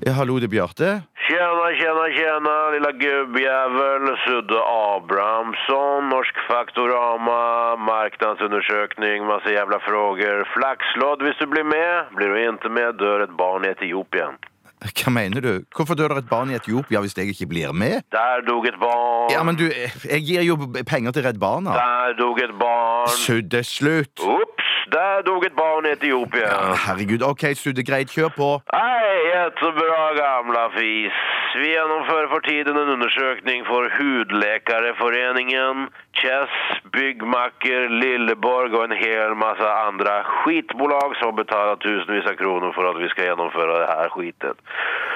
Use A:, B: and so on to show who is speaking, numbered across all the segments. A: Ja, hallå, det är Bjarte.
B: Tjena, tjena, tjena lilla gubbjävel. Sudde Abrahamsson, Norsk Faktorama, marknadsundersökning, massa jävla frågor. Flaxlodd, visst du blir med? Blir du inte med dör ett barn i Etiopien.
A: Hva mener du? Hvorfor dør det et barn i Etiopia hvis jeg ikke blir med?
B: Där dog ett barn.
A: Ja, men du, jeg gir jo penger til Redd Barna.
B: Där dog ett barn.
A: Sudde, slutt!
B: Oops, där dog ett barn i Etiopien.
A: Ja, herregud, ok, Sudde, greit, kjør på.
B: Nej, jättebra gamla fis. Vi genomför för tiden en undersökning för Hudläkareföreningen, Chess, Byggmacker, Lilleborg och en hel massa andra skitbolag som betalar tusenvis av kronor för att vi ska genomföra det här skiten.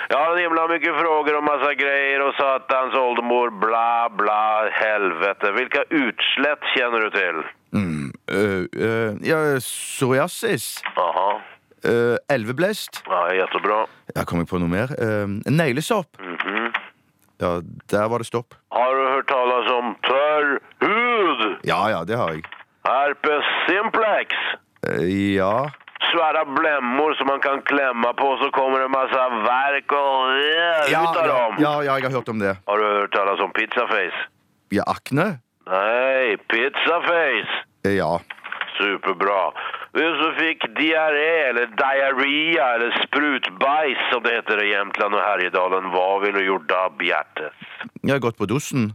B: Jag har en himla mycket frågor om massa grejer och satans åldermor, bla bla, helvete. Vilka utslätt känner du till?
A: Mm, øh, øh, ja, psoriasis,
B: Jaha,
A: øh, elveblest
B: ja, jättebra.
A: Jeg kommer på noe mer. Øh, neglesopp.
B: Mhm.
A: Ja, der var det stopp.
B: Har du hört talas om törr hud?
A: Ja ja, det har jeg.
B: Herpes simplex.
A: Eh, ja.
B: Svära blämmor som man kan klämma på så kommer en massa verk och eh,
A: Ja,
B: utav
A: ja,
B: dem.
A: ja, ja, jeg har hørt om det.
B: Har du hört talas om pizzaface?
A: Ja, akne?
B: Nej, pizzaface.
A: Eh, Ja.
B: Superbra. Du som fick diarré eller diarrea eller sprutbajs som det heter i Jämtland och Härjedalen. Vad vill du gjort av Bjärtes?
A: Jeg har gått på dosen.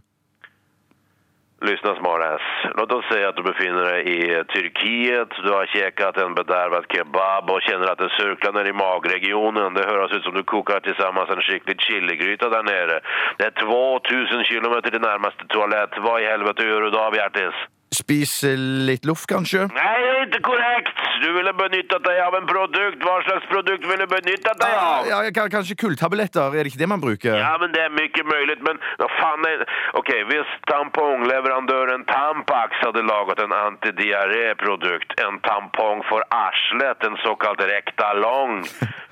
B: Lyssna smartass. Låt oss säga att du befinner dig i Turkiet. Du har käkat en bedärvad kebab och känner att det surklar ner i magregionen. Det hörs ut som du kokar tillsammans en skicklig chiligryta där nere. Det är 2000 kilometer till närmaste toalett. Vad i helvete gör du då, Bjartis?
A: Spise litt loff, kanskje?
B: Nej, det är inte korrekt! Du ville benytta dig av en produkt. Vad slags produkt vill du benytta dig av?
A: Ja, ja, ka- kanskje kulltabletter? Er det ikke det man bruker?
B: Ja, men det är mycket möjligt, men vad fan är... Okej, visst tampongleverantören Tampax hade lagat en antidiarréprodukt. En tampong för arslet, en så kallad rektalong.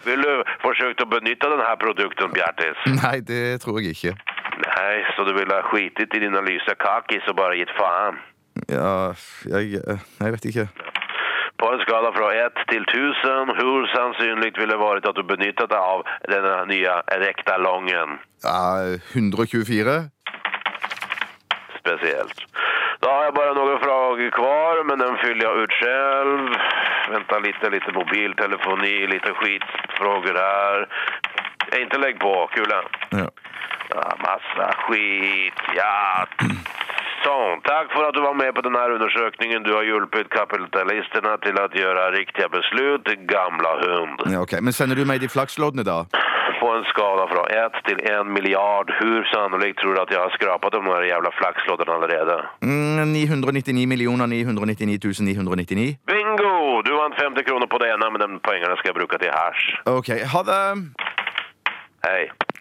B: Vill du försökt att benytta den här produkten, Bjartis?
A: Nei, det tror jeg ikke.
B: Nej, så du vill ha skitit i dina lysa kakis och bara gett fan?
A: Ja, jeg, eh, jeg vet ikke.
B: På en skala från 1 till 1000, hur sannolikt ville det varit att du benyttat dig av denna nya rektalongen?
A: Ja, 124?
B: speciellt. Då har jag bara några frågor kvar, men den fyller jag ut själv. Vänta lite, lite mobiltelefoni, lite skitfrågor här. Eh, Inte lägg på, kulan.
A: Ja.
B: Ja, massa skit, ja. Så, tack för att du var med på den här undersökningen. Du har hjälpt kapitalisterna till att göra riktiga beslut, din gamla hund.
A: ja, ok. Men sender du meg de flaksloddene, da?
B: På en skala från 1 till 1 miljard, hur sannolikt tror du att jag har skrapat de här jävla flaxlådorna allerede?
A: Mm, 999 millioner 999 999.
B: Bingo! Du vann 50 kronor på det ena, men de poängarna ska jag bruka till hash.
A: Ok, ha det!
B: Hej.